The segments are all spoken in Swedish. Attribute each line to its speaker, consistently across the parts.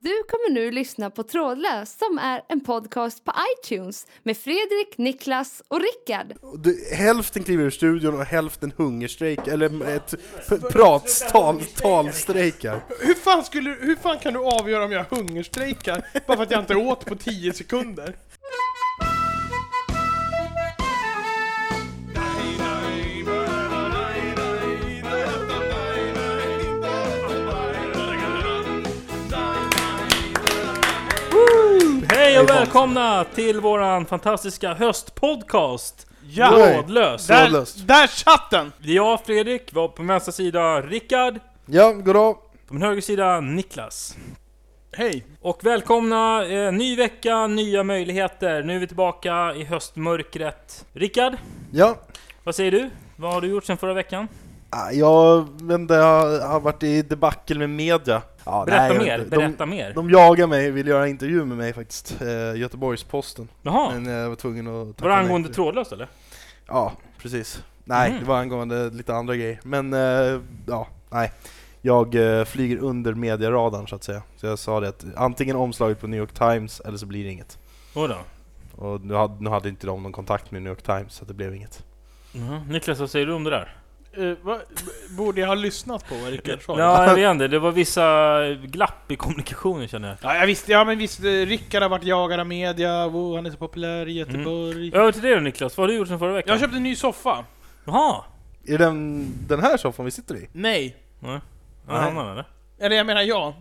Speaker 1: Du kommer nu lyssna på Trådlös som är en podcast på iTunes med Fredrik, Niklas och Rickard.
Speaker 2: Du, hälften kliver ur studion och hälften hungerstrejk, eller ett p- pratstal, talstrejkar.
Speaker 3: Hur fan, skulle, hur fan kan du avgöra om jag hungerstrejkar bara för att jag inte åt på 10 sekunder?
Speaker 4: Hej och välkomna till våran fantastiska höstpodcast!
Speaker 3: Ja!
Speaker 4: Trådlös!
Speaker 3: Där,
Speaker 2: Trådlöst.
Speaker 3: där satt den!
Speaker 4: Jag, Fredrik, var på min vänstra sida Rickard,
Speaker 2: Ja, goddag.
Speaker 4: på min högra sida Niklas.
Speaker 3: Hej!
Speaker 4: Och välkomna, eh, ny vecka, nya möjligheter. Nu är vi tillbaka i höstmörkret. Rickard,
Speaker 2: Ja,
Speaker 4: vad säger du? Vad har du gjort sedan förra veckan?
Speaker 2: Ah, jag vet inte, jag har varit i debacle med media. Ja,
Speaker 4: Berätta
Speaker 2: nej, jag
Speaker 4: mer,
Speaker 2: vet inte.
Speaker 4: berätta mer.
Speaker 2: De, de jagar mig, vill göra en intervju med mig faktiskt, eh, Göteborgs-Posten.
Speaker 4: Jaha,
Speaker 2: Men jag var tvungen att tacka
Speaker 4: var det angående
Speaker 2: nej.
Speaker 4: trådlöst eller?
Speaker 2: Ja, precis. Nej,
Speaker 4: Mhm.
Speaker 2: det var angående lite andra grejer. Men eh, ja, nej. Jag eh, flyger under mediaradarn så att säga. Så jag sa det att antingen omslaget på New York Times eller så blir det inget.
Speaker 4: Oj då.
Speaker 2: Och nu hade, nu hade inte de någon kontakt med New York Times så att det blev inget.
Speaker 4: Mhm. Niklas, vad säger du om det där?
Speaker 3: Eh, vad- b- borde jag ha lyssnat på vad Rickard sa?
Speaker 4: Ja, jag vet inte. Det var vissa glapp i kommunikationen känner jag.
Speaker 3: Ja, jag visste, ja men visst, eh, Rickard har varit jagad av media, wow, han är så populär i Göteborg.
Speaker 4: Över till dig då Niklas, vad har du gjort sedan förra veckan?
Speaker 3: Jag köpte en ny soffa.
Speaker 4: Jaha!
Speaker 2: Är det den, den här soffan vi sitter i?
Speaker 3: Nej.
Speaker 4: Någon
Speaker 2: Nej.
Speaker 4: annan eller?
Speaker 3: Eller jag menar jag.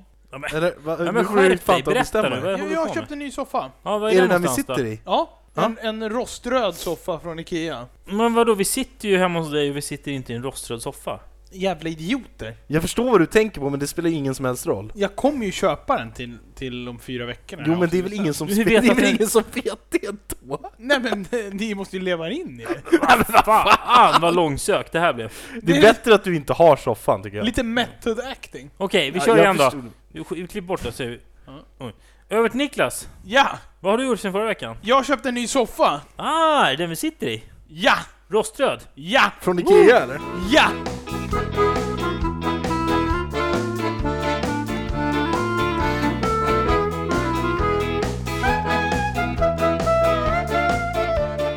Speaker 2: Eller? Va,
Speaker 4: men
Speaker 2: nu får
Speaker 4: skärp
Speaker 2: du
Speaker 4: dig,
Speaker 2: fan ta och
Speaker 4: berätta
Speaker 2: bestämma
Speaker 4: nu,
Speaker 2: dig.
Speaker 4: vad- håller
Speaker 3: Jag,
Speaker 4: du på
Speaker 3: jag
Speaker 4: med?
Speaker 3: köpte en ny soffa.
Speaker 4: Ja, vad
Speaker 2: Är det den vi
Speaker 4: någonstans
Speaker 2: sitter
Speaker 4: då?
Speaker 2: i?
Speaker 3: Ja,
Speaker 2: Ja.
Speaker 3: en, en roströd soffa från Ikea.
Speaker 4: Men vadå, vi sitter ju hemma hos dig och vi sitter inte i en roströd soffa.
Speaker 3: Jävla idioter.
Speaker 2: Jag förstår vad du tänker på men det spelar ingen som helst roll.
Speaker 3: Jag kommer ju köpa den till, till om fyra veckor. när
Speaker 2: Jo
Speaker 3: jag
Speaker 2: men det är väl
Speaker 3: avslutar.
Speaker 2: ingen som,
Speaker 4: Vi
Speaker 2: spe-
Speaker 4: vet
Speaker 2: det är
Speaker 4: att
Speaker 2: väl
Speaker 4: det-
Speaker 2: ingen som vet det ändå?
Speaker 3: Nej men eh, ni måste ju leva in i det.
Speaker 4: Fan vad långsökt det här blev.
Speaker 2: Det är bättre att du inte har soffan tycker jag.
Speaker 3: Lite method acting.
Speaker 4: Okej, vi
Speaker 2: Ja,
Speaker 4: kör
Speaker 2: jag
Speaker 4: igen då.
Speaker 2: förstod.
Speaker 4: Vi sk- vi klipper bort det säger vi.
Speaker 3: Ja.
Speaker 4: Oj. Över till Niklas.
Speaker 3: Ja!
Speaker 4: Vad har du gjort sedan förra veckan?
Speaker 3: Jag köpte en ny soffa!
Speaker 4: Ah, är det den vi sitter i?
Speaker 3: Ja!
Speaker 4: Roströd?
Speaker 3: Ja!
Speaker 2: Från Ikea eller?
Speaker 3: Ja!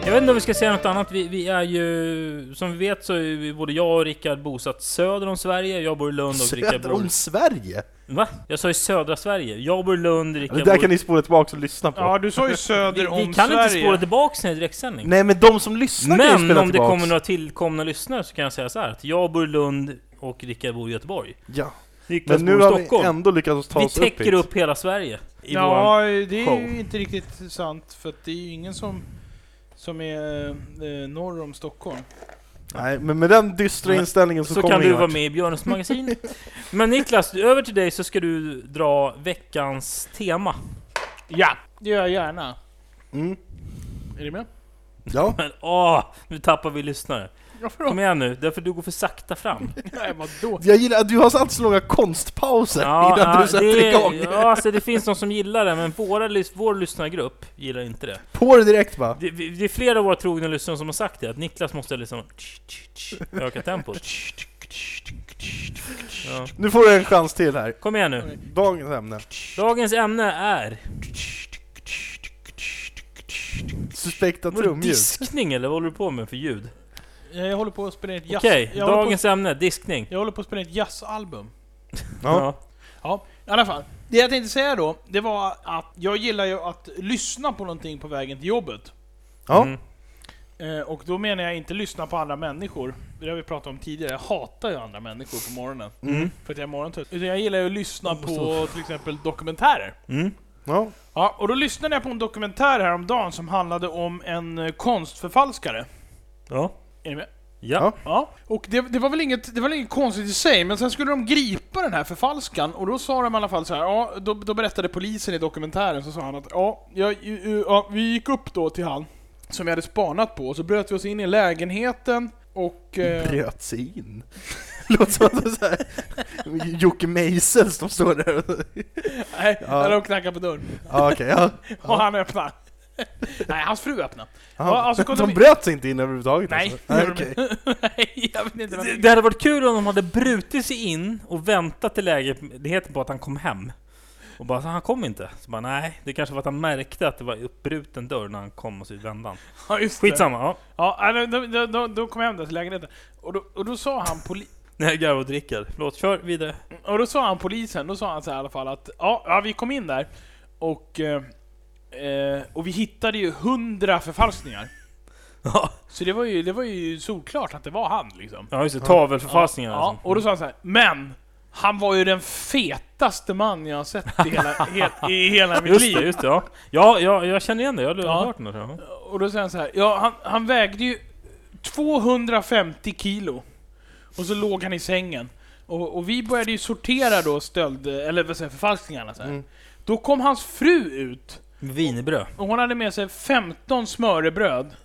Speaker 4: Jag vet inte om vi ska säga något annat. Vi, vi är ju... Som vi vet så är vi, både jag och Rickard bosatt söder om Sverige. Jag bor i Lund och Rickard
Speaker 2: Söder
Speaker 4: bor...
Speaker 2: om Sverige?
Speaker 4: Va? Jag sa ju södra Sverige. Jag bor i Lund, Rickard
Speaker 2: Det där
Speaker 4: bor...
Speaker 2: kan ni spola tillbaka och lyssna på.
Speaker 3: Ja, du sa ju
Speaker 4: Vi,
Speaker 3: söder om
Speaker 4: vi kan
Speaker 3: Sverige.
Speaker 4: inte spåra tillbaka i direktsändning.
Speaker 2: Nej men de som lyssnar kan ju
Speaker 4: Men
Speaker 2: spela
Speaker 4: om det
Speaker 2: tillbaks.
Speaker 4: kommer några tillkomna lyssnare så kan jag säga så här att jag bor i Lund och Rickard bor i Göteborg.
Speaker 2: Ja.
Speaker 4: Niklas
Speaker 2: Men nu
Speaker 4: bor i
Speaker 2: har vi
Speaker 4: Stockholm.
Speaker 2: ändå lyckats ta
Speaker 4: Vi,
Speaker 2: oss upp
Speaker 4: täcker
Speaker 2: hit.
Speaker 4: upp, hela Sverige. I
Speaker 3: ja,
Speaker 4: våran...
Speaker 3: det är
Speaker 4: show.
Speaker 3: ju inte riktigt sant för att det är ju ingen som, som är eh, norr om Stockholm.
Speaker 2: Nej men med den dystra
Speaker 4: Men-
Speaker 2: inställningen så,
Speaker 4: Så
Speaker 2: kommer
Speaker 4: kan
Speaker 2: vi
Speaker 4: du
Speaker 2: ingen
Speaker 4: vara
Speaker 2: vart.
Speaker 4: med i Björnes magasin. Men Niklas, över till dig så ska du dra veckans tema.
Speaker 3: Ja! Det gör jag gärna.
Speaker 2: Mm.
Speaker 3: Är du med?
Speaker 2: Ja.
Speaker 4: Men åh, nu tappar vi lyssnare.
Speaker 3: Varför
Speaker 4: Kom igen nu, därför du går för sakta fram.
Speaker 3: Nej, vadå?
Speaker 2: Jag gillar att du har alltid så långa konstpauser innan du sätter
Speaker 4: det,
Speaker 2: igång.
Speaker 4: ja, alltså det finns de som gillar det, men våra, lys- vår lyssnargrupp gillar inte det.
Speaker 2: På det direkt va?
Speaker 4: Det, vi- det är flera av våra trogna lyssnare som har sagt det, att Niklas måste liksom tsch, tsch, tsch, öka tempot. Ja.
Speaker 2: Nu får du en chans till här.
Speaker 4: Kom igen nu.
Speaker 2: Dagens ämne.
Speaker 4: Dagens ämne är...
Speaker 2: Suspekta
Speaker 4: Var det
Speaker 2: trumljud.
Speaker 4: diskning eller vad håller du på med för ljud?
Speaker 3: Jag håller på att spela ett jazz...
Speaker 4: Okej,
Speaker 3: jag, håller på,
Speaker 4: dagens ämne, diskning.
Speaker 3: jag håller på att spela ett jazzalbum.
Speaker 2: Ja.
Speaker 3: Ja, i alla fall. Det jag tänkte säga då, det var att jag gillar ju att lyssna på någonting på vägen till jobbet.
Speaker 2: Ja.
Speaker 4: Mm.
Speaker 3: Eh, och då menar jag inte lyssna på andra människor. Det har vi pratat om tidigare, jag hatar ju andra människor på morgonen.
Speaker 2: Mm.
Speaker 3: För att jag är morgontrött. Utan jag gillar ju att lyssna på till exempel dokumentärer.
Speaker 4: Mm.
Speaker 2: Ja.
Speaker 3: Ja, och då lyssnade jag på en dokumentär häromdagen som handlade om en eh, konstförfalskare.
Speaker 4: Ja.
Speaker 3: Är ni med?
Speaker 4: Ja.
Speaker 3: Ja, och det, det, var väl inget, det var väl inget konstigt i sig, men sen skulle de gripa den här förfalskaren och då sa de i alla fall så här, ja, då, då berättade polisen i dokumentären, så sa han att ja, jag, ju- ja, vi gick upp då till han som jag hade spanat på, och så bröt vi oss in i lägenheten och... Eh,
Speaker 2: Bröt sig in. Låter som att det är så här. Jocke Meisel som står där och...
Speaker 3: nej,
Speaker 2: Ja.
Speaker 3: eller de knackade på dörren.
Speaker 2: Ja okej, ja.
Speaker 3: Och han öppnade. nej, hans fru öppnade. Ja,
Speaker 2: ja.
Speaker 3: alltså, kom
Speaker 2: De
Speaker 3: de-
Speaker 2: bröt sig inte in överhuvudtaget
Speaker 3: Nej,
Speaker 2: alltså. Nej,
Speaker 3: gjorde de
Speaker 2: okej.
Speaker 3: nej, jag vet inte vad
Speaker 4: Det- Det hade varit kul om de hade brutit sig in och väntat till lägenheten på att han kom hem. Och bara, så han kom inte. Så bara, nej, det kanske var att han märkte att det var uppbruten dörr när han kom och så vände han.
Speaker 3: Ja, just det.
Speaker 4: Skitsamma, ja.
Speaker 3: Ja, nej, då, då, då, då kom jag hem där till lägenheten. Och då, och då sa han poli-
Speaker 4: När jag garvar och dricker. Förlåt, kör vidare.
Speaker 3: Och då sa han polisen, då sa han så här i alla fall att ja, ja vi kom in där och, eh, eh, och vi hittade ju hundra förfalskningar.
Speaker 4: Ja,
Speaker 3: Så det var ju, det var ju solklart att det var han liksom.
Speaker 4: ja just det. Tavelförfalskningar
Speaker 3: Ja,
Speaker 4: liksom.
Speaker 3: och då sa han så här, men han var ju den fetaste man jag har sett i hela, he, i hela mitt
Speaker 4: Just det,
Speaker 3: liv.
Speaker 4: just det, ja. Ja, ja, jag känner igen det. Jag har
Speaker 3: Ja.
Speaker 4: hört något. Ja.
Speaker 3: Och då sa han så här, ja han, han vägde ju 250 kilo. Och så låg han i sängen. Och, och vi började ju sortera då stöld, eller vad säger jag, förfalskningarna så här.
Speaker 2: Mm.
Speaker 3: Då kom hans fru ut.
Speaker 4: Wienerbröd.
Speaker 3: Och hon hade med sig 15 smörrebröd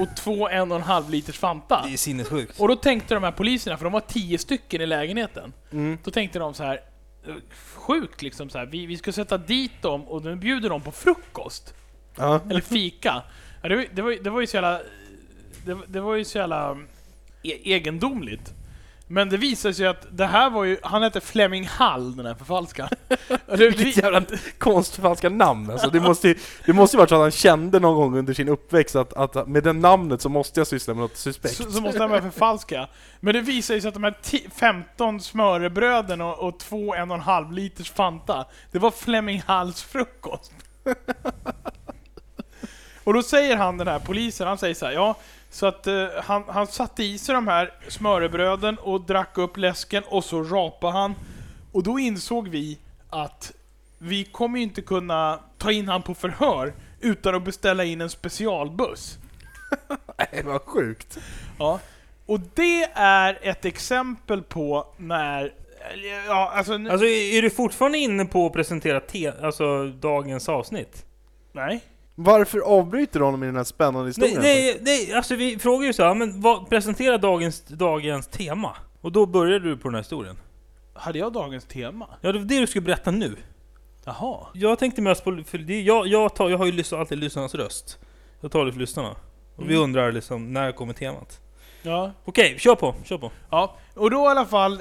Speaker 3: och två en och en halv liters Fanta.
Speaker 4: är sinnessjukt.
Speaker 3: Och då tänkte de här poliserna, för de var 10 stycken i lägenheten.
Speaker 2: Mm.
Speaker 3: Då tänkte de så här. eh, Sjukt liksom så här. Vi, vi ska sätta dit dem och nu bjuder de på frukost.
Speaker 2: Ja.
Speaker 3: Eller fika. Ja, det, var, ju- det, var, ju- det var ju så jävla... Det, var- det var ju så jävla e- egendomligt. Men det visade sig att det här var ju... Han hette Fleming Hall, den här förfalskaren. Och det-
Speaker 2: Vilket jävla konstfalska namn alltså. det, måste ju, det måste ju varit så att han kände någon gång under sin uppväxt att, att med det namnet så måste jag syssla med något suspekt.
Speaker 3: Så, så måste han börja förfalska. Men det visar ju sig att de här 10 15 smörrebröden och, och två en och en halv liters Fanta, det var Fleming Halls frukost. och då säger han den här polisen, han säger så här, ja, så att eh, han, han satte i sig de här smörrebröden och drack upp läsken och så rapade han. Och då insåg vi att vi kommer ju inte kunna ta in han på förhör utan att beställa in en specialbuss.
Speaker 2: Nej, vad sjukt.
Speaker 3: Ja. Och det är ett exempel på när... Ja, alltså... Nu,
Speaker 4: Alltså, är du fortfarande inne på att presentera te, alltså, dagens avsnitt?
Speaker 3: nej.
Speaker 2: Varför avbryter du honom i den här spännande
Speaker 4: Nej,
Speaker 2: historien?
Speaker 4: nej, nej, alltså vi frågar ju så här, men vad, presentera dagens, dagens tema. Och då börjar du på den här historien.
Speaker 3: Hade jag dagens tema?
Speaker 4: Ja, det var det du skulle berätta nu.
Speaker 3: Jaha.
Speaker 4: Jag tänkte mest på, för det, jag, jag, tar, jag har ju lyssnat, alltid lyssnarnas röst. Jag tar det för lyssnarna. Och vi
Speaker 3: Mm.
Speaker 4: undrar liksom, när kommer temat?
Speaker 3: Ja.
Speaker 4: Okej, kör på, kör på.
Speaker 3: ja. Och då i alla fall...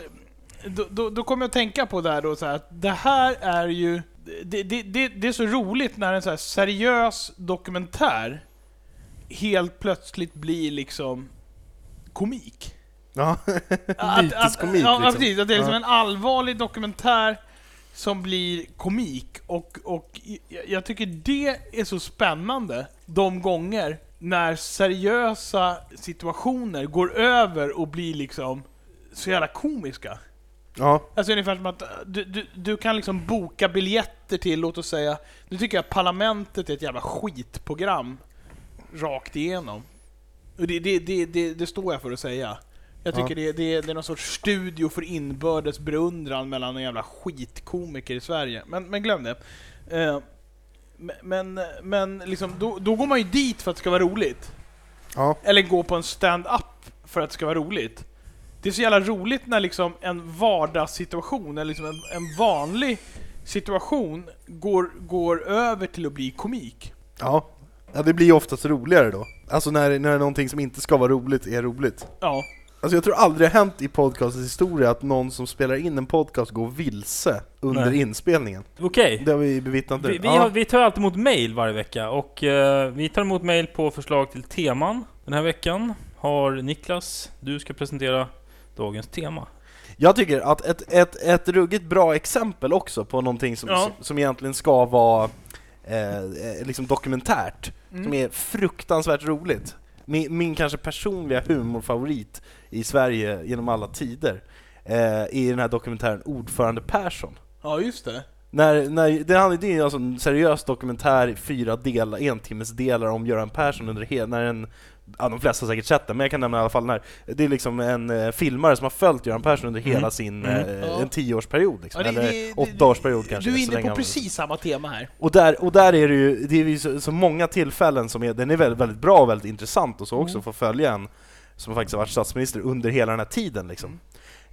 Speaker 3: Då, då, då kommer jag att tänka på det här då så här, att det här är ju... Det, det, det, det är så roligt när en så här seriös dokumentär helt plötsligt blir liksom komik.
Speaker 2: Ja.
Speaker 3: Att- att-
Speaker 2: Myteskomik,
Speaker 3: Ja,
Speaker 2: liksom.
Speaker 3: precis. Att det är liksom
Speaker 2: Ja.
Speaker 3: en allvarlig dokumentär som blir komik. Och, och jag, jag tycker det är så spännande de gånger när seriösa situationer går över och blir liksom så jävla komiska.
Speaker 2: ja.
Speaker 3: Alltså ungefär som att du, du, du kan liksom boka biljetter till, låt oss säga, nu tycker jag Parlamentet är ett jävla skitprogram rakt igenom. Och det, det, det, det, det står jag för att säga. Jag
Speaker 2: Ja.
Speaker 3: tycker det, det, det är någon sorts studio för inbördes beundran mellan en jävla skitkomiker i Sverige. Men, men glöm det. Eh, men- men, men liksom, då, då går man ju dit för att det ska vara roligt.
Speaker 2: Ja.
Speaker 3: Eller gå på en stand-up för att det ska vara roligt. Det är så jävla roligt när liksom en vardagssituation, eller liksom en, en vanlig situation, går, går över till att bli komik.
Speaker 2: Ja. ja, det blir ju oftast roligare då. Alltså när, när någonting som inte ska vara roligt är roligt.
Speaker 3: Ja.
Speaker 2: Alltså jag tror aldrig det har hänt i podcastens historia att någon som spelar in en podcast går vilse under
Speaker 4: Nej.
Speaker 2: inspelningen.
Speaker 4: Okej.
Speaker 2: Det har vi bevittnat nu.
Speaker 4: Vi, vi,
Speaker 2: ja.
Speaker 4: har, vi tar alltid emot mail varje vecka och eh, vi tar emot mail på förslag till teman. Den här veckan har Niklas, du ska presentera dagens tema.
Speaker 2: Jag tycker att ett, ett, ett ruggigt bra exempel också på någonting som,
Speaker 3: Ja.
Speaker 2: som, som egentligen ska vara eh, eh, liksom dokumentärt, som är fruktansvärt roligt. Min, min kanske personliga humorfavorit i Sverige genom alla tider eh, är den här dokumentären Ordförande Persson.
Speaker 3: Ja, just det.
Speaker 2: När, när, det, handlar, det är ju alltså en seriös dokumentär i fyra delar, entimmesdelar om Göran Persson under hela, när en, ja, de flesta har säkert sett den, men jag kan nämna i alla fall när. Det är liksom en eh, filmare som har följt Göran Persson under hela sin, eh,
Speaker 3: Ja.
Speaker 2: en tioårsperiod liksom,
Speaker 3: Mm. Ja, det-
Speaker 2: eller
Speaker 3: det- det-
Speaker 2: åttaårsperiod kanske.
Speaker 3: Du är
Speaker 2: så länge
Speaker 3: inne på
Speaker 2: han-
Speaker 3: precis samma tema här.
Speaker 2: och där, och där är det ju, det är ju så, så många tillfällen som är, den är väldigt, väldigt bra och väldigt intressant och så
Speaker 4: Mm.
Speaker 2: också, för att följa en som faktiskt har varit statsminister under hela den här tiden liksom.
Speaker 4: Mm.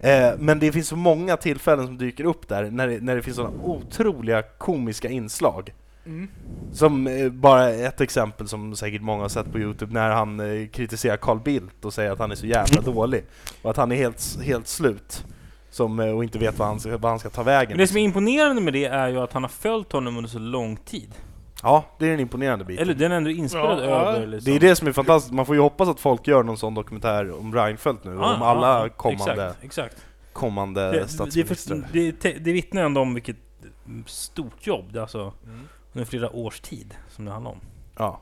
Speaker 2: Eh, men det finns så många tillfällen som dyker upp där, när det, när det finns sådana otroliga komiska inslag.
Speaker 4: Mm.
Speaker 2: Som eh, bara ett exempel som säkert många har sett på Youtube, när han eh, kritiserar Carl Bildt och säger att han är så jävla dålig, och att han är helt, helt slut. som, eh, och inte vet vad han, ska- vad han ska ta vägen. liksom.
Speaker 4: Men det som är imponerande med det är ju att han har följt honom under så lång tid.
Speaker 2: Ja, det är den imponerande biten.
Speaker 4: Eller den är ändå inspelad
Speaker 3: Ja, ja.
Speaker 4: över liksom.
Speaker 2: Det är det som är fantastiskt, man får ju hoppas att folk gör någon sån dokumentär om Reinfeldt nu,
Speaker 4: Ja,
Speaker 2: om alla
Speaker 4: Ah, ja,
Speaker 2: kommande,
Speaker 4: Exakt, exakt.
Speaker 2: kommande
Speaker 4: Det, det,
Speaker 2: statsministrar.
Speaker 4: för- det, det, det vittnar ändå om vilket stort jobb det är alltså.
Speaker 3: Mm.
Speaker 4: Under flera års tid som det handlar om.
Speaker 2: Ja.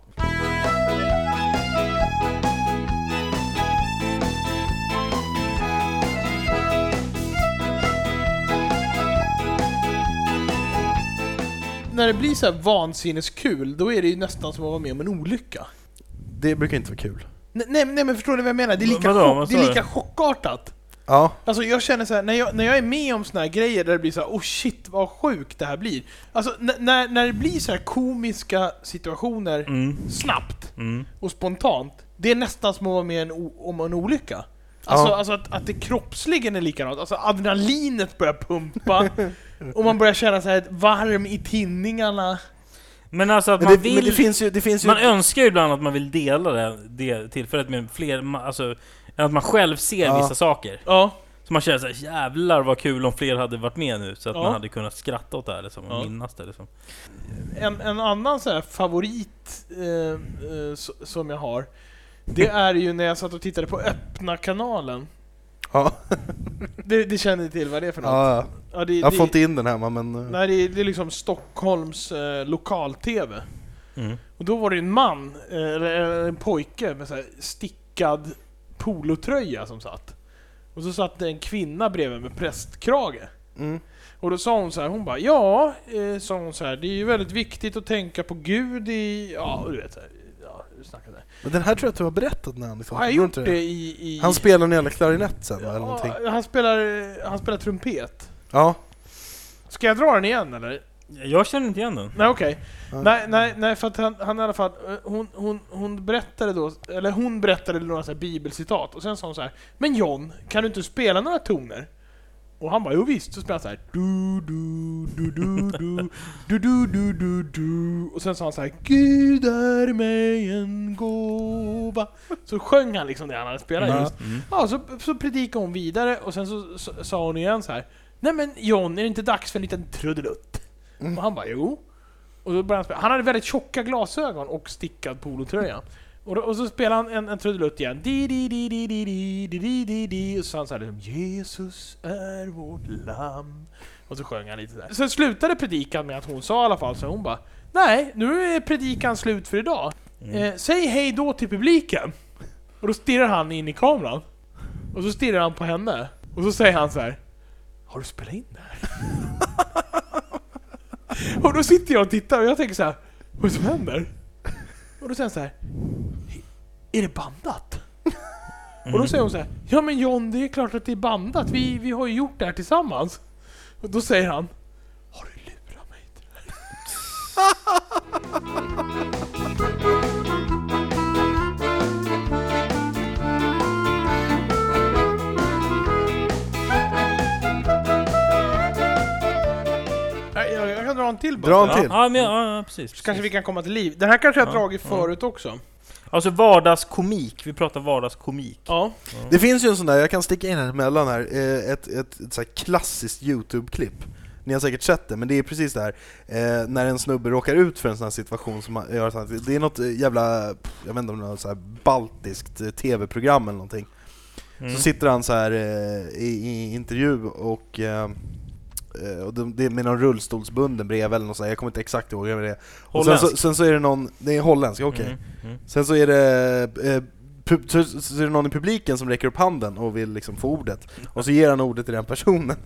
Speaker 3: När det blir så här vansinneskul, då är det ju nästan som att vara med om en olycka.
Speaker 2: Det brukar inte vara kul.
Speaker 3: Nej, nej, nej men förstår ni vad jag menar? Det är lika,
Speaker 4: Vadå?
Speaker 3: chock,
Speaker 4: Vad sa
Speaker 3: det är
Speaker 4: du?
Speaker 3: lika chockartat.
Speaker 2: Ja,
Speaker 3: Alltså jag känner så här, när jag, när jag är med om såna här grejer där det blir så här, oh shit vad sjukt det här blir. Alltså n- när, när det blir så här komiska situationer
Speaker 4: Mm,
Speaker 3: snabbt
Speaker 4: mm.
Speaker 3: och spontant, det är nästan som att vara med en o- om en olycka. Alltså,
Speaker 2: Ja.
Speaker 3: alltså att, att det kroppsligen är likadant, alltså adrenalinet börjar pumpa och man börjar känna sig varm i tinningarna.
Speaker 4: Men alltså att
Speaker 2: men
Speaker 4: man
Speaker 2: det,
Speaker 4: vill...
Speaker 2: men det finns ju... Det finns ju
Speaker 4: Alltså, Man önskar ju ibland att man vill dela det, det tillfället med fler, ma- alltså, att man själv ser
Speaker 2: Ja.
Speaker 4: vissa saker.
Speaker 3: Ja,
Speaker 4: Så man känner såhär, jävlar vad kul om fler hade varit med nu, så att
Speaker 3: Ja.
Speaker 4: man hade kunnat skratta åt det här liksom, och
Speaker 3: Ja.
Speaker 4: minnas det liksom.
Speaker 3: en, en annan så här favorit eh, eh, s- som jag har, det är ju när jag satt och tittade på öppna kanalen.
Speaker 2: ja,
Speaker 3: Det, det känner ni till vad det är för något?
Speaker 2: ja, ja.
Speaker 3: Ja, det,
Speaker 2: Jag
Speaker 3: det-
Speaker 2: får inte in den hemma men... eh,
Speaker 3: Nej, det, är- det är liksom Stockholms eh, lokal-TV.
Speaker 4: Mm.
Speaker 3: Och då var det en man, eh, eller en pojke med så här stickad polotröja som satt. Och så satt det en kvinna bredvid med prästkrage.
Speaker 2: Mm.
Speaker 3: Och då sa hon så här, hon bara ja, eh, sa hon så här, det är ju väldigt viktigt att tänka på Gud i, ja
Speaker 2: Mm.
Speaker 3: du vet så här, ja, du snackar där.
Speaker 2: Men den här tror jag att du har berättat när Anders
Speaker 3: Har jag gjort det i... i
Speaker 2: Han spelar en jävla klarinett sen va, eller någonting?
Speaker 3: ja, han spelar, eh, han spelar trumpet.
Speaker 2: Ja.
Speaker 3: Ska jag dra den igen eller?
Speaker 4: Jag känner inte igen den.
Speaker 3: Nej okej.
Speaker 2: Ja.
Speaker 3: Nej, nej, nej för att han, han i alla fall, eh, hon, hon, hon berättade då, eller hon berättade några så här bibelcitat och sen sa hon så här Men John, kan du inte spela några toner? Och han bara, jo visst, så spelade han så här du du du du du du du du du du Och sen sa han så här Gud är mig en gåva Så sjöng han liksom det han hade spelat
Speaker 2: Ja.
Speaker 3: just
Speaker 4: Mm.
Speaker 3: Ja, så, så predikade hon vidare och sen så, så sa hon igen så här. Nej men John, är det inte dags för en liten trudelutt?
Speaker 2: Mm.
Speaker 3: Och han bara jo. Och då började han spela. Han hade väldigt tjocka glasögon och stickad polotröja. Och, då, och så spelade han en, en trudelutt igen. Di, di, di, di, di, di, di, di, di, di. Och så sa han så här liksom, Jesus är vårt lamm. Och så sjöng han lite där. Sen slutade predikan med att hon sa i alla fall, så hon bara Nej, nu är predikan slut för idag. Eh, säg hej då till publiken. Och då stirrar han in i kameran. Och så stirrar han på henne. Och så säger han så här. Har du spelat in det här? och då sitter jag och tittar och jag tänker så här. Vad är det som händer? Och då säger han så här. Är det bandat? Och då säger hon så här. Ja men John, det är klart att det är bandat. Vi, vi har ju gjort det här tillsammans. Och då säger han. Har du lurat mig? till det här?" Jag, jag, jag kan dra en till bara.
Speaker 2: Dra en
Speaker 4: Ja,
Speaker 2: till.
Speaker 4: ja, men, ja, ja, precis.
Speaker 3: Så kanske
Speaker 4: precis.
Speaker 3: vi kan komma till liv. Den här kanske jag har
Speaker 4: Ja,
Speaker 3: dragit förut också.
Speaker 4: Alltså vardagskomik, vi pratar vardagskomik.
Speaker 3: Ja.
Speaker 2: Det finns ju en sån där, jag kan sticka in här emellan här, eh, ett, ett, ett så här klassiskt YouTube-klipp. Ni har säkert sett det, men det är precis det här eh, när en snubbe råkar ut för en sån här situation som man- gör så här, Det är något eh, jävla, pff, jag vet inte om det är något så här baltiskt eh, TV-program eller någonting.
Speaker 4: Mm.
Speaker 2: Så sitter han så här eh, i, i intervju och, eh, eh, och de, det är med någon rullstolsbunden bredvid eller något så här, jag kommer inte exakt ihåg vem det är. Och sen, så,
Speaker 4: Holländsk.
Speaker 2: sen så är det någon, det är holländsk, okej.
Speaker 4: Mm, mm.
Speaker 2: Sen så är det eh, pu- så- så är det någon i publiken som räcker upp handen och vill liksom få ordet, och så ger han ordet till den personen.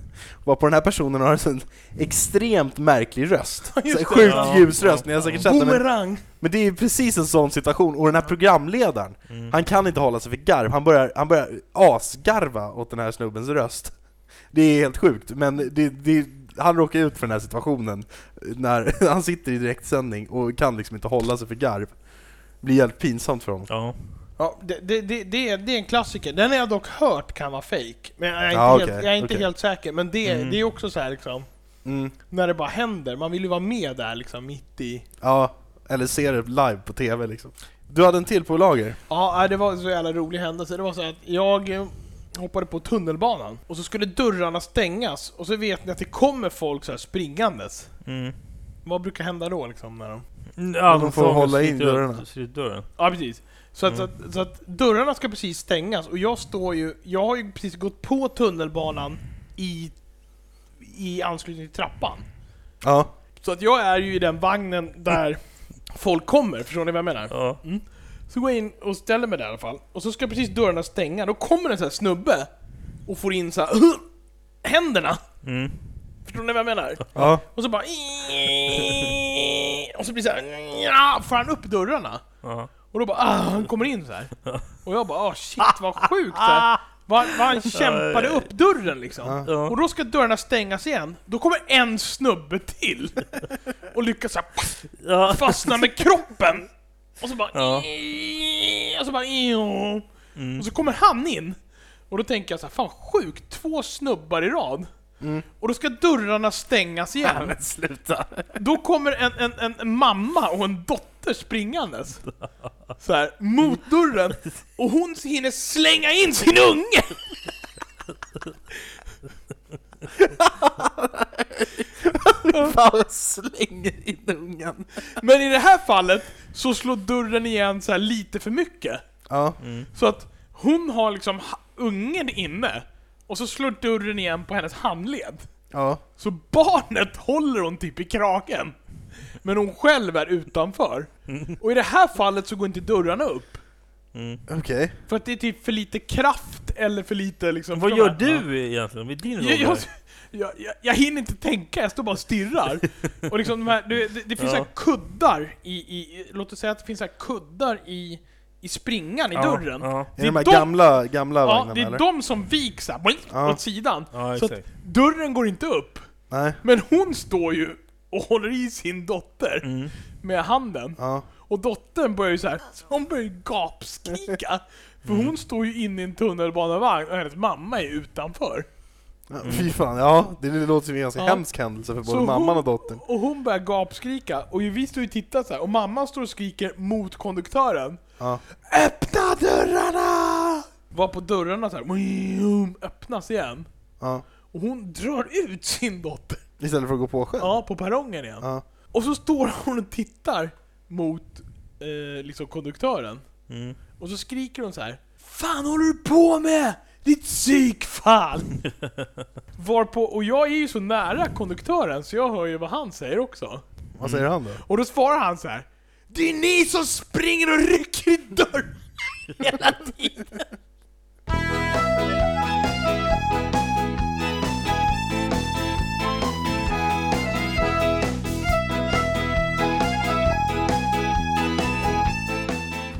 Speaker 2: Och på den här personen har en sån extremt märklig röst. Så här
Speaker 3: det.
Speaker 2: sjukt
Speaker 4: Ja,
Speaker 2: ljus röst,
Speaker 4: ja,
Speaker 2: ni har säkert sett den. Men,
Speaker 3: Boomerang!
Speaker 2: men det är ju precis en sån situation, och den här programledaren,
Speaker 4: Mm.
Speaker 2: han kan inte hålla sig för garv, han börjar, han börjar asgarva åt den här snubbens röst. Det är helt sjukt, men det, det, han råkar ut för den här situationen när han sitter i direktsändning och kan liksom inte hålla sig för garv. Det blir helt pinsamt för honom.
Speaker 4: Ja.
Speaker 3: Ja, det, det, det, det, är, det är en klassiker. Den har jag dock hört kan vara fake. Men jag är inte,
Speaker 2: Ja,
Speaker 3: helt,
Speaker 2: okej,
Speaker 3: jag är inte
Speaker 2: okej.
Speaker 3: helt säker. Men det,
Speaker 4: Mm.
Speaker 3: det är också så här liksom,
Speaker 2: Mm.
Speaker 3: när det bara händer. Man vill ju vara med där liksom mitt i...
Speaker 2: Ja, eller ser det live på TV liksom. Du hade en till på lager?
Speaker 3: äh, Ja, nej, det var en så jävla rolig händelse. Det var så att jag... eh, hoppade på tunnelbanan och så skulle dörrarna stängas och så vet ni att det kommer folk så här springandes.
Speaker 4: Mm.
Speaker 3: Vad brukar hända då liksom? När de...
Speaker 4: Ja,
Speaker 2: Mm. de får
Speaker 4: så-
Speaker 2: hålla
Speaker 4: så
Speaker 2: in
Speaker 4: sitter-
Speaker 2: dörrarna.
Speaker 4: så sitter dörren.
Speaker 3: Ja, precis. Så att, så, att, så att dörrarna ska precis stängas och jag står ju... Jag har ju precis gått på tunnelbanan i, i anslutning till trappan.
Speaker 2: Ja.
Speaker 3: Så att jag är ju i den vagnen där folk kommer, förstår ni vad jag menar?
Speaker 4: Ja.
Speaker 3: Så går jag in och ställer mig där i alla fall. Och så ska precis dörrarna stänga. Då kommer en sån här snubbe och får in så här händerna.
Speaker 4: Mm.
Speaker 3: Förstår ni vad jag menar?
Speaker 2: ja.
Speaker 3: Och så bara... Och så blir det så här, ja, får han upp dörrarna.
Speaker 4: Ja.
Speaker 3: Och då bara ah, han kommer in så här. Och jag bara ah shit vad sjukt så här. Vad vad han kämpade upp dörren liksom.
Speaker 4: Ja.
Speaker 3: Och då ska dörrarna stängas igen. Då kommer en snubbe till. Och lyckas så här, pff,
Speaker 4: Ja.
Speaker 3: fastna med kroppen. Och så bara...
Speaker 4: Ja. Mm.
Speaker 3: Och så bara... Och så kommer han in. Och då tänker jag så här, fan vad sjukt, två snubbar i rad. Och då ska dörrarna stängas igen.
Speaker 4: Men sluta.
Speaker 3: Då kommer en, en, en, en mamma och en dotter springandes. Så här, mot dörren. Och hon hinner slänga in sin unge!
Speaker 2: Fan,
Speaker 3: Mm.
Speaker 2: slänger in ungen.
Speaker 3: Men i det här fallet så slår dörren igen så här lite för mycket.
Speaker 2: Ja.
Speaker 3: Så att hon har liksom ha- ungen inne. Och så slår dörren igen på hennes handled.
Speaker 2: Ja.
Speaker 3: Så barnet håller hon typ i kragen. Men hon själv är utanför. Och i det här fallet så går inte dörrarna upp.
Speaker 2: Okej.
Speaker 3: För att det är typ för lite kraft eller för lite liksom...
Speaker 4: Vad gör du egentligen? Vad är din roll?
Speaker 3: Jag, jag,
Speaker 4: här?
Speaker 3: jag, jag, jag hinner inte tänka, jag står bara och stirrar. och liksom de här, det, det, det finns
Speaker 4: Ja.
Speaker 3: så här kuddar i, i, i- låt oss säga att det finns så här kuddar i, i springan i
Speaker 4: Ja,
Speaker 3: dörren.
Speaker 4: Ja.
Speaker 2: Är det de här
Speaker 3: de-
Speaker 2: gamla, gamla
Speaker 3: Ja,
Speaker 2: vagnarna
Speaker 3: det är
Speaker 2: eller?
Speaker 3: de som viks här, boink,
Speaker 2: Ja.
Speaker 3: åt sidan.
Speaker 4: Ja,
Speaker 3: så att
Speaker 4: exakt.
Speaker 3: dörren går inte upp.
Speaker 2: Nej.
Speaker 3: Men hon står ju och håller i sin dotter
Speaker 4: Mm.
Speaker 3: med handen.
Speaker 2: Ja.
Speaker 3: Och dottern börjar ju så här, hon börjar ju gapskrika. För hon står ju inne i en tunnelbanevagn och hennes mamma är utanför.
Speaker 2: Ja, Fy fan, ja. Det låter som en ganska
Speaker 3: Ja.
Speaker 2: hemsk händelse för både
Speaker 3: Så
Speaker 2: mamman
Speaker 3: hon-
Speaker 2: och dottern.
Speaker 3: Och hon börjar gapskrika, och ju- vi står ju och tittar så här, och mamman står och skriker mot konduktören.
Speaker 2: Ja.
Speaker 3: Öppna dörrarna! Var på dörrarna så här, vroom, öppnas igen.
Speaker 2: Ja.
Speaker 3: Och hon drar ut sin dotter,
Speaker 2: Istället för att gå på själv.
Speaker 3: ja, på perrongen igen.
Speaker 2: Ja.
Speaker 3: Och så står hon och tittar mot eh, liksom konduktören.
Speaker 4: Mm.
Speaker 3: Och så skriker hon så här. Fan håller du på med? Ditt psykfall! Varpå, och jag är ju så nära konduktören så jag hör ju vad han säger också.
Speaker 2: Vad
Speaker 4: Mm.
Speaker 2: säger han då?
Speaker 3: Och då svarar han så här. Det är ni som springer och rycker i dörren hela tiden!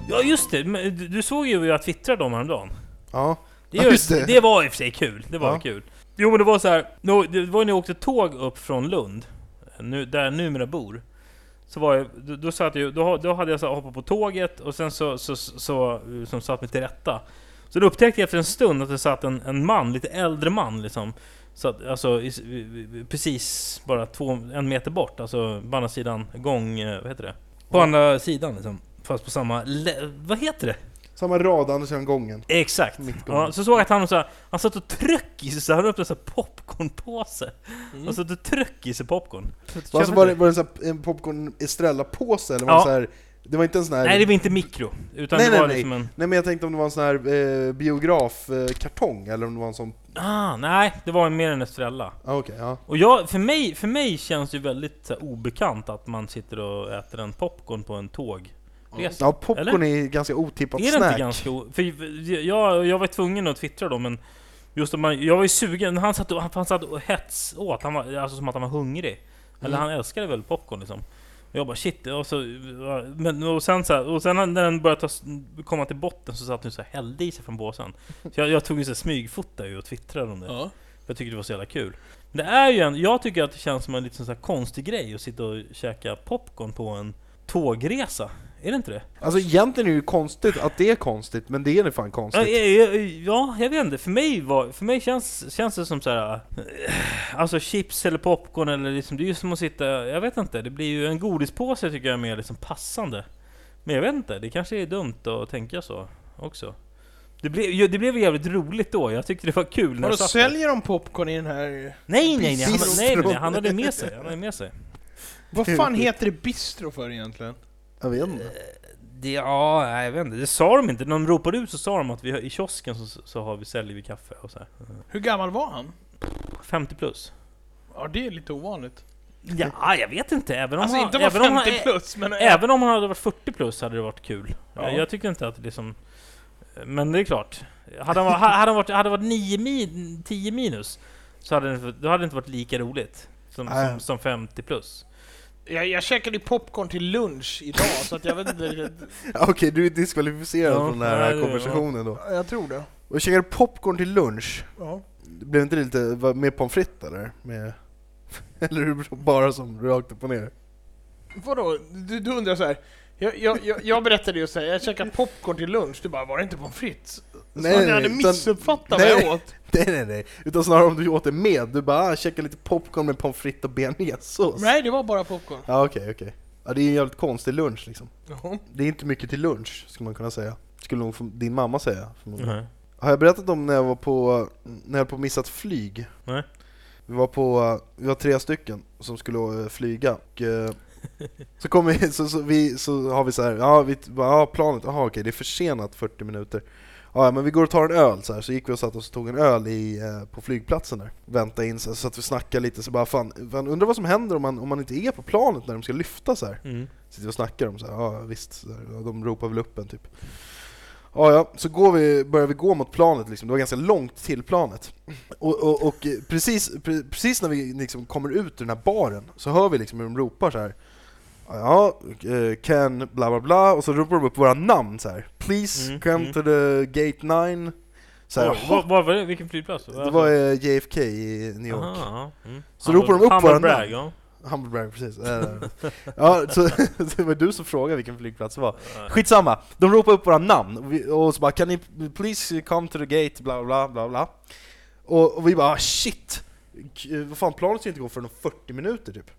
Speaker 4: ja, just det. Men du- Du såg ju vad jag twittrade om häromdagen.
Speaker 2: Ja.
Speaker 4: Det,
Speaker 2: Ja,
Speaker 4: gör-
Speaker 2: just det.
Speaker 4: det. var i och för sig kul. Det var
Speaker 2: Ja.
Speaker 4: kul. Jo men det var så här. nå- Det var när jag åkte tåg upp från Lund, nu, där jag numera bor. Så var jag, då, då, satt jag, då, då hade jag så här hoppat på tåget och sen så, så, så, så som satt mig till rätta. Så då upptäckte jag efter en stund att det satt en, en man, lite äldre man liksom. Så att, alltså, i, s- precis bara två, en meter bort, alltså på andra sidan gång... eh, Vad heter det? På andra sidan liksom. Fast på samma... lä- Vad heter det?
Speaker 2: Samma rad, Andersson-gången.
Speaker 4: Exakt.
Speaker 2: Mittgång.
Speaker 4: Ja, så såg jag att han, så här, han satt och tryck i sig, så han hade upp en sån här popcornpåse. Han satt och tryck i sig popcorn. Så att-
Speaker 2: Alltså var det, var det en, sån här, en popcorn Estrella-påse eller var
Speaker 4: Ja.
Speaker 2: det så här, Det var inte en sån här...
Speaker 4: Nej, det var inte mikro. Utan
Speaker 2: nej,
Speaker 4: det var
Speaker 2: nej,
Speaker 4: liksom
Speaker 2: nej.
Speaker 4: en...
Speaker 2: nej men jag tänkte om det var en sån här eh, biografkartong eller om det var en sån...
Speaker 4: Ah, nej, det var mer en Estrella.
Speaker 2: Ah, okej, ja.
Speaker 4: Och jag, för, mig, för mig känns det ju väldigt så här, obekant att man sitter och äter en popcorn på en tågresa.
Speaker 2: Ja, popcorn
Speaker 4: Eller?
Speaker 2: är ganska otippat
Speaker 4: Är det
Speaker 2: snack.
Speaker 4: inte ganska o- för jag, jag var tvungen att twittra då men Just om man, jag var ju sugen, han satt, och- han, han satt och hets åt, han var, alltså som att han var hungrig Eller han älskade väl popcorn liksom och jag bara shit, och, så, men, och sen så här, och sen när den började ta, s- komma till botten så satt den så här, hällde i sig från båsen Så jag, jag tog ju så här smygfota ju och twittrade om det
Speaker 3: Ja.
Speaker 4: Jag tyckte det var så jävla kul Men det är ju en, jag tycker att det känns som en liten så här konstig grej att sitta och käka popcorn på en tågresa Är det inte det?
Speaker 2: Alltså egentligen är det ju konstigt att det är konstigt, men det är det fan
Speaker 4: Ja,
Speaker 2: konstigt.
Speaker 4: ja, ja, ja, jag vet inte. För mig, var, för mig känns, känns det som så här. eh, Alltså chips eller popcorn eller liksom, det är ju som att sitta, jag vet inte. Det blir ju en godispåse tycker jag är mer liksom passande. Men jag vet inte, det kanske är dumt att tänka så också. Det blev, ju- det blev jävligt roligt då, jag tyckte det var kul när
Speaker 3: Vadå,
Speaker 4: jag satt där.
Speaker 3: säljer de popcorn i den här...
Speaker 4: Nej, nej, nej, han,
Speaker 2: Bistron.
Speaker 4: nej, nej, nej, han hade med sig. Han hade med sig.
Speaker 3: Vad fan heter det bistro för egentligen?
Speaker 2: Jag vet inte.
Speaker 4: Det, ja, nej, jag vet inte. Det sa de inte. När de ropade ut så sa de att vi har, i kiosken så, så har vi, säljer vi kaffe och så här.
Speaker 3: Hur gammal var han?
Speaker 4: 50 plus.
Speaker 3: Ja, det är lite ovanligt.
Speaker 4: Ja, jag vet inte. Även om
Speaker 3: Alltså
Speaker 4: han,
Speaker 3: inte var
Speaker 4: även om han-
Speaker 3: 50 plus, men...
Speaker 4: Även om han hade varit 40 plus hade det varit kul.
Speaker 3: Ja.
Speaker 4: Jag tycker inte att det liksom... Men det är klart. Hade han, varit- hade han varit, hade varit 9 min, 10 minus, så hade det, då hade det inte varit lika roligt. Som,
Speaker 2: Nej.
Speaker 4: som, som 50 plus.
Speaker 3: Jag, jag käkade ju popcorn till lunch idag, så att jag vet inte riktigt.
Speaker 2: Okej, du är diskvalificerad
Speaker 4: Ja,
Speaker 2: från den här,
Speaker 4: nej, det-
Speaker 2: konversationen då.
Speaker 3: Jag tror det.
Speaker 2: Och käkade popcorn till lunch.
Speaker 3: Ja.
Speaker 2: Blev inte det lite var- med pommes frites eller? Med, eller hur- bara som rakt upp och ner?
Speaker 3: Vadå? Du, du undrar så här. Jag, jag, jag, jag berättade ju såhär, jag käkade popcorn till lunch, du bara var det inte pommes frites?
Speaker 2: Nej,
Speaker 3: Nej, så
Speaker 2: nej,
Speaker 3: jag hade
Speaker 2: utan-
Speaker 3: missuppfattat vad
Speaker 2: nej.
Speaker 3: jag åt.
Speaker 2: Nej nej nej, utan snarare om du åt det med. Du bara ah, käkade lite popcorn med pommes frites och bearnaisesås.
Speaker 3: Nej, det var bara popcorn.
Speaker 2: Ja okej okej. Ja det är ju en jävligt konstig lunch liksom.
Speaker 3: Jaha.
Speaker 2: Det är inte mycket till lunch skulle man kunna säga. Skulle nog få- din mamma säga.
Speaker 3: Mm.
Speaker 2: förmodligen.
Speaker 4: Nej.
Speaker 2: Har jag berättat om när jag var på, när jag var på missat flyg?
Speaker 4: Nej.
Speaker 2: Vi var på, vi var tre stycken som skulle eh, flyga och eh, så, kom vi, så, så, vi, så har vi så här, ja, vi, bara, ja planet, jaha okej det är försenat 40 minuter. Ja ja, men vi går och tar en öl så här, så gick vi och satte oss och tog en öl i, eh, på flygplatsen där. Väntade in så, här, så att vi snackade lite så bara fan, fan undrar vad som händer om man, om man inte är på planet när de ska lyfta så här.
Speaker 4: Mm.
Speaker 2: Sitter och snackar om så här, ja visst, så här, ja, de ropar väl upp en typ. Ja, ja, så går vi, börjar vi gå mot planet, liksom. det var ganska långt till planet. Och, och, och eh, precis, pre, precis när vi liksom kommer ut ur den här baren så hör vi liksom hur de ropar så här. Ja, eh, Ken, bla bla bla, och så ropar de upp våra namn så här. Please
Speaker 4: Mm,
Speaker 2: come
Speaker 4: mm.
Speaker 2: to the gate 9. Så här,
Speaker 4: Oj,
Speaker 2: "Jaha."
Speaker 4: var, var var det? Vilken flygplats? Alltså-
Speaker 2: det var eh, JFK i New York.
Speaker 4: Aha, ja. mm.
Speaker 2: Så ropar de upp
Speaker 4: Humble
Speaker 2: våra
Speaker 4: brag,
Speaker 2: namn.
Speaker 4: ja.
Speaker 2: Hamburg, precis. Eh, ja, så, det var du som frågade vilken flygplats det var. Skitsamma, de ropar upp våra namn och, vi, och så bara kan ni please come to the gate, bla bla bla bla Och, och vi bara ah, shit, K- eh, vad fan planet ska inte gå förrän om 40 minuter typ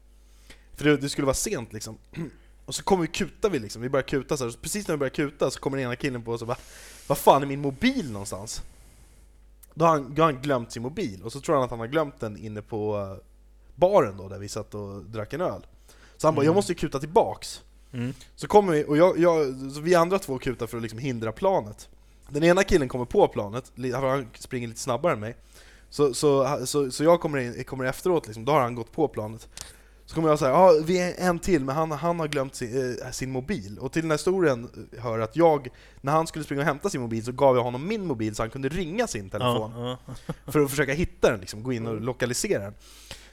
Speaker 2: För det, det skulle vara sent liksom Och så kommer vi kuta vi liksom, vi börjar kuta så här. Så precis när vi börjar kuta så kommer den ena killen på oss och bara Vad fan är min mobil någonstans? Då har han, då har han glömt sin mobil och så tror han att han har glömt den inne på eh, baren då där vi satt och drack en öl Så han bara, jag måste ju kuta tillbaks
Speaker 4: Mm.
Speaker 2: så kommer vi, och jag, jag, så vi andra två kutar för att liksom hindra planet. Den ena killen kommer på planet, li- han springer lite snabbare än mig. Så, så, så, så jag kommer, in, kommer efteråt, liksom, då har han gått på planet. Så kommer jag säga, ja vi är en till, men han, han har glömt sin, eh, sin mobil. Och till den här historien eh, hör att jag, när han skulle springa och hämta sin mobil så gav jag honom min mobil så han kunde ringa sin telefon
Speaker 4: Ja, ja.
Speaker 2: för att försöka hitta den, liksom, gå in och lokalisera den.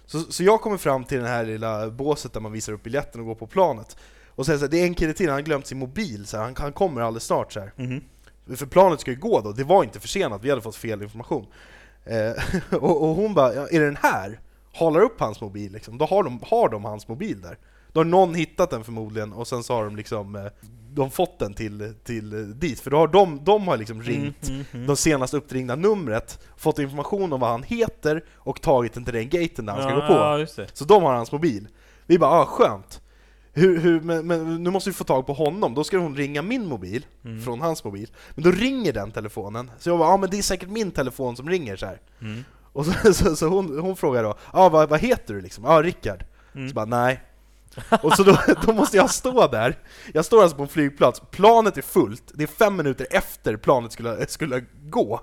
Speaker 2: Så, så jag kommer fram till det här lilla båset där man visar upp biljetten och går på planet. Och säger så här, det är en kille till, han har glömt sin mobil, så här, han, han kommer alldeles snart. Så här.
Speaker 3: Mm.
Speaker 4: Mhm.
Speaker 2: För planet ska ju gå då, det var inte försenat, vi hade fått fel information. Eh, och, och hon bara, ja, är det den här? Halar upp hans mobil, liksom. då har de, har de hans mobil där. Då har någon hittat den förmodligen och sen så har de liksom eh, de fått den till, till eh, dit, för då har de, de har liksom ringt
Speaker 4: Mm, mm,
Speaker 2: de senast uppringda numret, fått information om vad han heter och tagit den till den gaten där han ska
Speaker 4: ja,
Speaker 2: gå på.
Speaker 4: Ja, just det.
Speaker 2: Så de har hans mobil. Vi bara ah, skönt. Hur, hur, men, men nu måste vi få tag på honom, då ska hon ringa min mobil
Speaker 4: Mm.
Speaker 2: från hans mobil. Men då ringer den telefonen, så jag bara ah, men det är säkert min telefon som ringer så här.
Speaker 4: Mm.
Speaker 2: Och så, så, så hon, hon frågar då ah, vad, vad heter du liksom? Ja, ah, Rickard.
Speaker 4: Mm.
Speaker 2: Så bara nej. Och så då, då måste jag stå där, jag står alltså på en flygplats, planet är fullt, det är fem minuter efter planet skulle, skulle gå.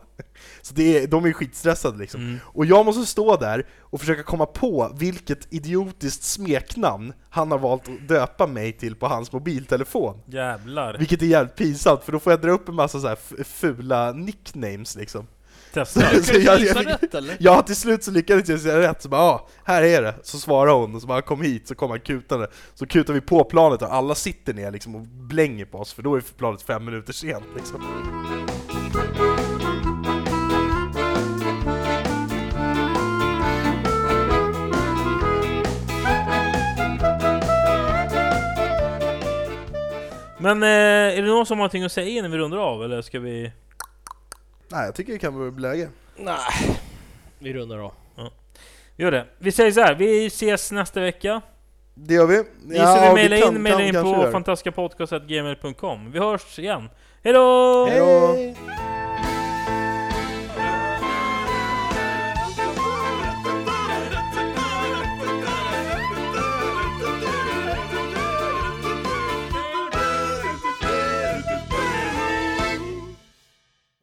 Speaker 2: Så det är, de är skitstressade liksom.
Speaker 4: Mm.
Speaker 2: Och jag måste stå där och försöka komma på vilket idiotiskt smeknamn han har valt att döpa mig till på hans mobiltelefon.
Speaker 4: Jävlar.
Speaker 2: Vilket är jävligt pinsamt, för då får jag dra upp en massa så här f- fula nicknames liksom.
Speaker 4: Testa.
Speaker 2: Så jag- jag
Speaker 3: Gissa
Speaker 2: fick-
Speaker 3: rätt eller?
Speaker 2: Ja, till slut så lyckades jag säga rätt, så bara ja, här är det. Så svarar hon, och så bara kom hit, så kom han kutande. Så kutar vi på planet och alla sitter ner liksom och blänger på oss, för då är planet fem minuter sent liksom.
Speaker 4: Men eh, är det någon som har någonting att säga innan vi rundar av, eller ska vi...
Speaker 2: Nej, jag tycker det kan vara läge.
Speaker 3: Nej. Vi rundar av.
Speaker 4: Gör det. Vi säger så här, vi ses nästa vecka.
Speaker 2: Det gör vi.
Speaker 4: Ni ja, vi mejla
Speaker 2: kan-
Speaker 4: in, mejla
Speaker 2: kan
Speaker 4: in
Speaker 2: kanske göra
Speaker 4: på
Speaker 2: det.
Speaker 4: fantastiskapodcast.gmail.com. Vi hörs igen. Hejdå!
Speaker 2: Hej då!